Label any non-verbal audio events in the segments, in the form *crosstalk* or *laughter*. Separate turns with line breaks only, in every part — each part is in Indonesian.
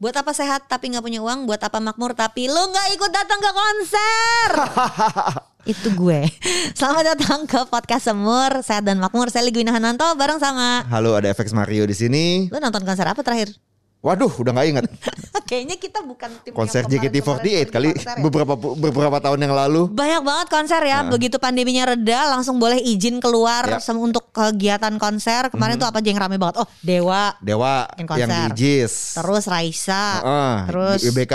Buat apa sehat tapi nggak punya uang? Buat apa makmur tapi lu nggak ikut datang ke konser?
*laughs*
Itu gue. Selamat datang ke podcast Semur Sehat dan Makmur. Saya Ligwina Hananto bareng sama.
Halo ada FX Mario di sini.
Lu nonton konser apa terakhir? *laughs*
Waduh, udah nggak inget.
Kayaknya kita bukan tim yang
Konser
kemarin-kemarin
JKT48
pergi
kali
konser ya.
beberapa beberapa tahun yang lalu.
Banyak banget konser ya. Begitu pandeminya reda langsung boleh izin keluar
Nah. Ya. Hmm.
sama untuk kegiatan konser. Kemarin tuh apa aja yang rame banget? Oh, Dewa,
Dewa
Bikin konser.
yang di Jis.
terus Raisa,
Heeh,
terus
di IBK.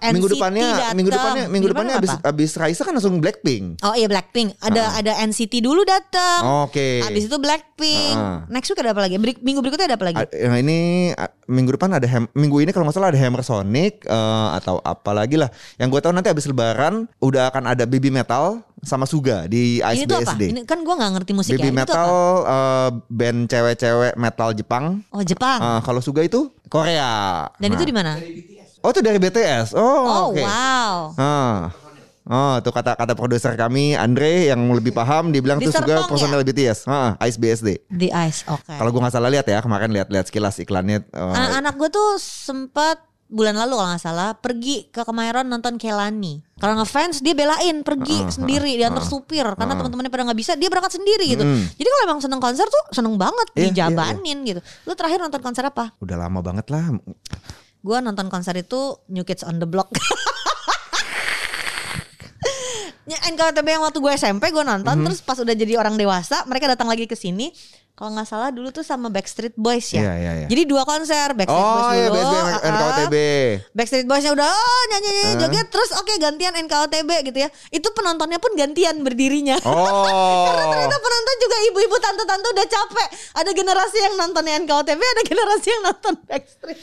eh,
minggu
NCT
depannya,
dateng.
minggu depannya, minggu depannya abis
apa?
abis Raisa kan langsung Blackpink.
Oh iya Blackpink.
Ah.
Ada ada NCT
Oh,
dulu datang.
Oke.
Iya. Abis itu Blackpink.
Heeh.
Next week ada apa lagi? Beri- Minggu berikutnya ada apa lagi?
A- Yang ini a- minggu depan ada Ham- minggu ini kalau nggak salah ada Hammer Sonic eh, atau apalagi lah. Yang gue tahu nanti abis Lebaran udah akan ada Baby Metal sama Suga di
Ini tuh apa?
ISBSD.
Ini kan gua nggak ngerti musik
Baby
ya. Ini tuh
Metal
apa?
eh, band cewek-cewek metal Jepang.
Oh Jepang.
Eh, kalau Suga itu Korea.
Dan itu
Nah.
di mana?
Oh itu dari BTS.
Oh
Oh, oke.
wow.
Ah. Oh, tuh kata kata produser kami Andre yang lebih paham dia bilang
Di
tuh Suga
Serpong
personel BTS. Heeh, Ah, Ice BSD.
The Ice. Oke.
Kalau gua nggak salah lihat ya, kemarin lihat-lihat sekilas iklannya eh,
An- anak gue tuh sempat bulan lalu kalau nggak salah pergi ke Kemayoran nonton Kelani. Kalau ngefans dia
Ah,
belain pergi sendiri diantar supir karena teman-temannya pada nggak bisa dia berangkat sendiri gitu. Jadi kalau emang seneng konser tuh seneng banget
Hmm. Iya, iya,
dijabanin gitu. Lu terakhir nonton konser apa?
udah lama banget lah.
Gue nonton konser itu New Kids on the Block. *laughs* Ya, NKTB yang waktu gue SMP gue nonton
Mhm.
terus pas udah jadi orang dewasa mereka datang lagi ke sini kalau nggak salah dulu tuh sama Backstreet Boys ya.
Iya, iya, iya.
Jadi dua konser Backstreet
Oh
Boys
iya
dulu.
BSD
ah, ah. *laughs*
NKOTB.
Backstreet Boys-nya udah oh, nyanyi nyanyi joget terus oke gantian NKOTB gitu ya. Itu penontonnya pun gantian berdirinya. *laughs* Karena
Oh.
ternyata penonton juga ibu-ibu tante-tante udah capek. Ada generasi yang nonton NKOTB, ada generasi yang nonton Backstreet.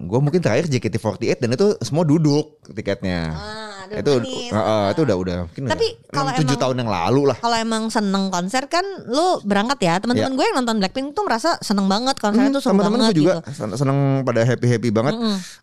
Gue mungkin terakhir JKT48 dan itu semua duduk tiketnya.
Ah, duduk
itu
manis. Ah.
eh, eh, itu udah udah mungkin
Tapi
udah
kalau
6, 7
emang-
tahun yang lalu lah.
Kalau emang seneng konser kan lu berangkat ya. Teman-teman
Iya.
gue yang nonton Blackpink tuh merasa seneng banget konsernya
Hmm,
tuh seru
teman-teman
banget
gue juga
gitu.
sen- seneng pada happy happy banget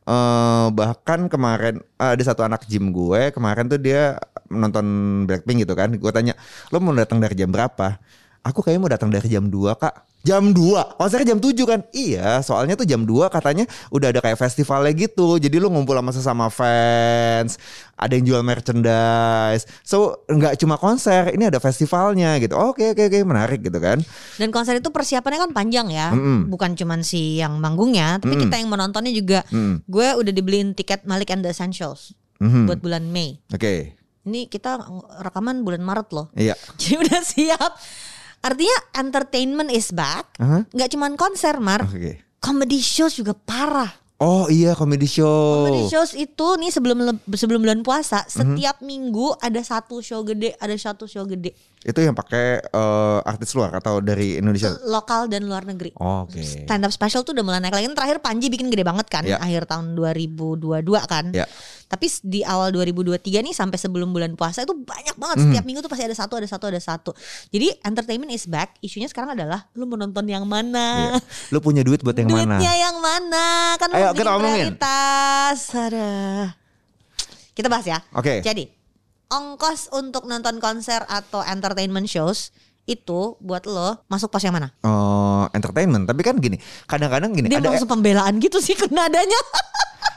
Eh, bahkan kemarin eh, ada satu anak gym gue kemarin tuh dia menonton Blackpink gitu kan gue tanya lo mau datang dari jam berapa aku kayaknya mau datang dari jam 2 kak jam 2 konsernya jam 7 kan iya soalnya tuh jam 2 katanya udah ada kayak festivalnya gitu jadi lo ngumpul sama sesama fans ada yang jual merchandise so nggak cuma konser ini ada festivalnya gitu oke oke oke menarik gitu kan
Dan konser itu persiapannya kan panjang ya,
Mm-mm.
bukan cuman si yang manggungnya, tapi kita yang menontonnya juga.
Mm-mm.
Gue udah dibeliin tiket Malik and the Essentials
Mhm.
buat bulan Mei.
oke
Ini kita rekaman bulan Maret loh. *laughs*
iya
Jadi udah siap. Artinya entertainment is back.
Aha.
Nggak cuman konser, Mar.
Oke.
Comedy shows juga parah.
Oh iya comedy show.
Comedy shows itu nih sebelum le- sebelum bulan puasa,
Mhm.
setiap minggu ada satu show gede, ada satu show gede
Itu yang pakai eh, artis luar atau dari Indonesia?
lokal dan luar negeri.
Oke.
Stand up special tuh udah mulai naik lagi. Kan Terakhir Panji bikin gede banget kan
Ya.
akhir tahun 2022 kan.
Ya.
Tapi s- di awal 2023 nih sampai sebelum bulan puasa itu banyak
Mhm.
banget setiap minggu tuh pasti ada satu ada satu ada satu. Jadi entertainment is back. Isunya sekarang adalah lu menonton yang
Iya.
mana?
Lu punya duit buat yang mana?
Duitnya yang mana? Kan lu
Ayo,
bikin
kita omongin.
prioritas. Aduh. Kita bahas ya.
Oke.
Jadi, ongkos untuk nonton konser atau entertainment shows itu buat lo masuk pos yang mana?
Eh, entertainment. Tapi kan gini, kadang-kadang gini
Dia
ada e- eh,
langsung pembelaan gitu sih *laughs* kena adanya.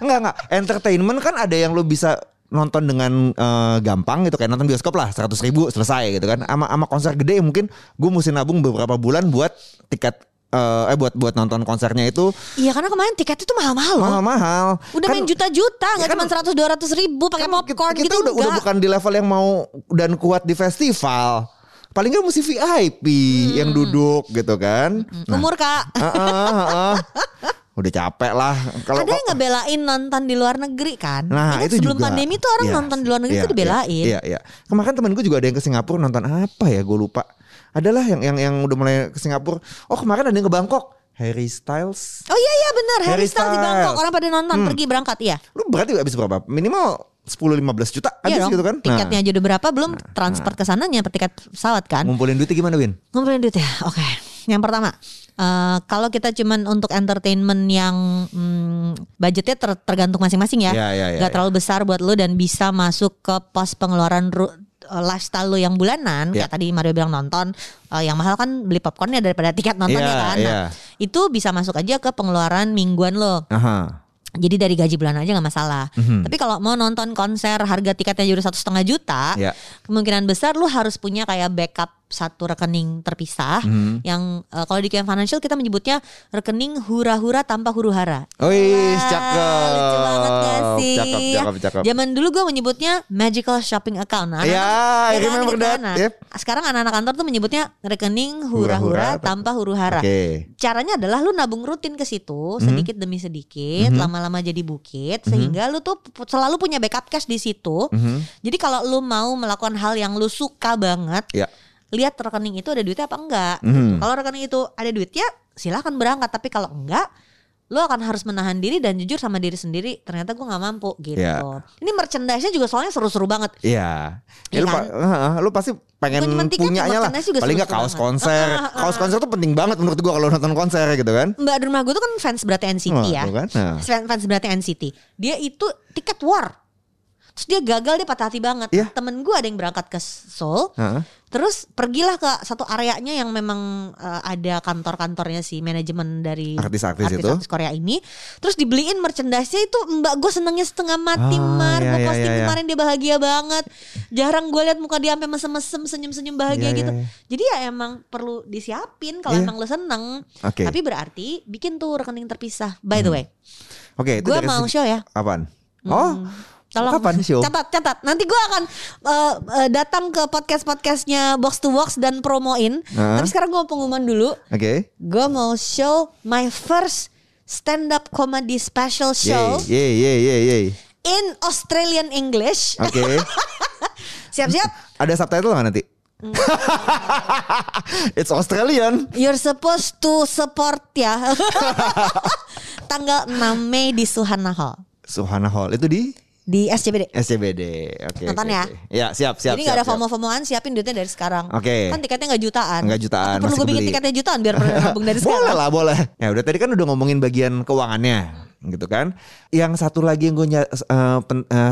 enggak enggak entertainment kan ada yang lu bisa nonton dengan eh, gampang gitu kayak nonton bioskop lah 100 ribu selesai gitu kan ama ama konser gede mungkin gue mesti nabung beberapa bulan buat tiket eh, eh buat buat nonton konsernya itu
Iya karena kemarin tiketnya tuh mahal-mahal loh.
mahal-mahal.
Udah
Kan-
main juta-juta, nggak
ya kan-
cuma seratus dua ratus ribu pakai
kan
popcorn
kita, kita
gitu
udah, udah
enggak.
bukan di level yang mau dan kuat di festival. Paling nggak mesti VIP
Hmm.
yang duduk gitu kan. Nah,
Umur kak,
ah, ah, ah, ah. udah capek lah. Kalau
ada yang nggak belain nonton di luar negeri kan?
Nah
Ya kan,
itu
sebelum
juga.
pandemi tuh orang
Iya,
nonton di luar negeri
iya,
tuh dibelain.
Iya, iya. Kemarin temen gue juga ada yang ke Singapura nonton apa ya? Gue lupa. Adalah yang yang yang udah mulai ke Singapura. Oh kemarin ada yang ke Bangkok. Harry Styles.
Oh iya iya benar
Harry
Harry Styles di
Styles.
Bangkok orang pada nonton pergi berangkat iya.
Lu berarti habis berapa? Minimal 10-15 juta habis
Iya dong.
gitu kan? Nah,
Tiketnya aja udah berapa belum transport ke sananya tiket pesawat kan?
ngumpulin duitnya gimana Win?
Ngumpulin duit ya. Oke. Yang pertama, eh, kalau kita cuman untuk entertainment yang hmm, budgetnya ter- tergantung masing-masing ya.
Iya,
nggak
iya, iya, iya.
terlalu besar buat lu dan bisa masuk ke pos pengeluaran ru- eh, lifestyle lu yang bulanan
Iya.
kayak tadi Mario bilang nonton eh, yang mahal kan beli popcornnya daripada tiket nontonnya
Iya,
kan.
iya.
Nah, itu bisa masuk aja ke pengeluaran mingguan lo.
Aha.
Jadi dari gaji bulanan aja nggak masalah.
Mhm.
Tapi kalau mau nonton konser harga tiketnya jadi satu setengah juta,
Ya.
kemungkinan besar lu harus punya kayak backup satu rekening terpisah
Mhm.
yang eh, kalau di KM Financial kita menyebutnya rekening hura-hura tanpa huru hara.
Wih,
Wah,
cakep.
Lucu banget gak sih?
Cakep, cakep, cakep.
Zaman dulu gue menyebutnya magical shopping account. Nah,
Ya,
anak-anak-
I
kan,
remember
gitu
that.
kan, nah.
Yep.
Sekarang anak-anak kantor tuh menyebutnya rekening
Hura-hura
hura-hura
tanpa-
tanpa huru hara
Oke.
caranya adalah lu nabung rutin ke situ sedikit
Mhm.
demi sedikit lama-lama jadi bukit sehingga lu tuh pu- selalu punya backup cash di situ
Mhm.
jadi kalau lu mau melakukan hal yang lu suka banget
Ya.
lihat rekening itu ada duitnya apa enggak gitu.
Mhm.
kalau rekening itu ada duitnya silahkan berangkat tapi kalau enggak lu akan harus menahan diri dan jujur sama diri sendiri ternyata gua nggak mampu gitu
Ya.
ini merchandise-nya juga soalnya seru-seru banget
Iya. Ya,
Iya
lu,
kan?
pa- heeh, lu pasti pengen
Bukan cuma tiket,
punyanya lah.
merchandise juga
Paling nggak
seru-seru
kaos
banget.
konser. Kaos konser tuh penting banget menurut gua kalau nonton konser gitu kan.
Mbak di rumah gue tuh kan fans beratnya NCT
Wah,
ya.
tuh kan, nah.
Fans, fans beratnya NCT. Dia itu tiket war. Terus dia gagal dia patah hati banget.
Iya.
Temen gue ada yang berangkat ke Seoul.
Heeh.
Terus pergilah ke satu areanya yang memang eh, ada kantor-kantornya si manajemen dari
Artis-artis itu.
Iya. artis-artis Korea ini. Terus dibeliin merchandise-nya itu mbak gue senengnya setengah mati
Ah,
mar.
iya,
Gue
iya,
posting
iya, iya.
kemarin dia bahagia banget. Jarang gue lihat muka dia sampai mesem-mesem senyum-senyum
Iya,
bahagia
iya,
gitu.
iya.
Jadi ya emang perlu disiapin kalau
Iya.
emang lo seneng.
Oke. Hmm.
Tapi berarti bikin tuh rekening terpisah. By the way,
Oke, itu
gue
dari
mau
segi-
show ya.
apaan? Oh.
Tolong
Kapan show?
catat catat. Nanti gue akan eh, eh, datang ke podcast podcastnya Box to Box dan promoin.
Heeh.
Tapi sekarang gue mau pengumuman dulu.
Oke.
Gue mau show my first stand up comedy special show
Yeay, yeay, yeay, yeay, yeay.
in Australian English.
Oke.
*laughs* Siap-siap.
Ada subtitle nggak nanti?
Mm.
*laughs* It's Australian.
You're supposed to support ya. *laughs* Tanggal 6 Mei di Suhana Hall
Suhana Hall itu di
di SCBD.
SCBD. Oke.
Nonton
oke,
ya.
oke. Ya, siap, siap.
Jadi
siap,
nggak ada
siap.
fomo-fomoan siapin duitnya dari sekarang.
Oke.
Kan tiketnya nggak jutaan.
Nggak jutaan,
Aku perlu
masih
gue bikin
kebeli.
tiketnya jutaan biar pada nabung dari sekarang.
*laughs* Boleh lah, boleh. Ya udah tadi kan udah ngomongin bagian keuangannya gitu kan. Yang satu lagi yang gue eh,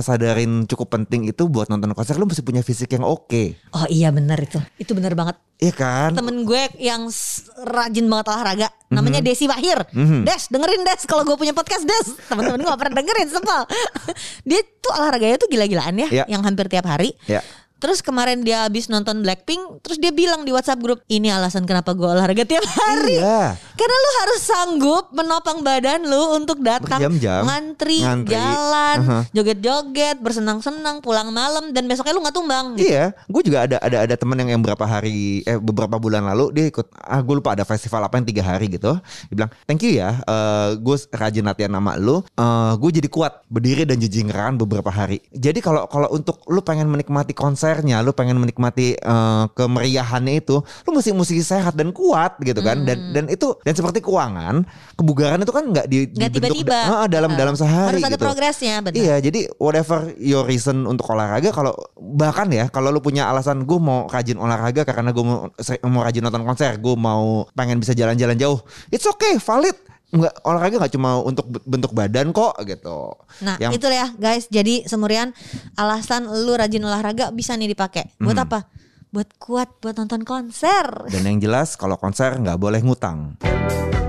sadarin cukup penting itu buat nonton konser lu mesti punya fisik yang oke.
Oh iya bener itu. Itu bener banget.
Iya kan?
Temen gue yang s- rajin banget olahraga.
Mhm.
Namanya Desi Wahir. Des dengerin Des. Kalau gue punya podcast Des. Temen-temen gue gak pernah dengerin. Sepal. *laughs* Dia tuh olahraganya tuh gila-gilaan ya.
Iya.
Yang hampir tiap hari.
Iya.
Terus kemarin dia habis nonton Blackpink, terus dia bilang di WhatsApp grup, ini alasan kenapa gue olahraga tiap hari.
Iya.
Karena lu harus sanggup menopang badan lu untuk datang
Berjam-jam.
ngantri,
Ngantri.
jalan,
Aha.
joget-joget, bersenang-senang, pulang malam dan besoknya lu nggak tumbang. gitu.
Iya, gue juga ada ada ada teman yang yang berapa hari eh beberapa bulan lalu dia ikut ah gue lupa ada festival apa yang tiga hari gitu. Dia bilang thank you ya, eh gue rajin latihan nama lu, eh gue jadi kuat berdiri dan jejingeran beberapa hari. Jadi kalau kalau untuk lu pengen menikmati konsernya, lu pengen menikmati eh, kemeriahannya itu, lu mesti mesti sehat dan kuat gitu kan. Dan
Hmm.
dan itu dan seperti keuangan, kebugaran itu kan nggak di,
Nggak
dibentuk
tiba-tiba.
da- eh, dalam
Eh,
dalam sehari
Harus ada
gitu.
progresnya, benar.
Iya, jadi whatever your reason untuk olahraga, kalau bahkan ya kalau lu punya alasan gue mau rajin olahraga karena gue mau, seri- mau rajin nonton konser, gue mau pengen bisa jalan-jalan jauh, it's okay, valid. Nggak, olahraga nggak cuma untuk be- bentuk badan kok gitu.
Nah,
Yang-
itu ya guys. Jadi semurian alasan lu rajin olahraga bisa nih dipakai.
Hmm.
Buat apa? Buat kuat buat nonton konser.
Dan yang jelas kalau konser nggak boleh ngutang.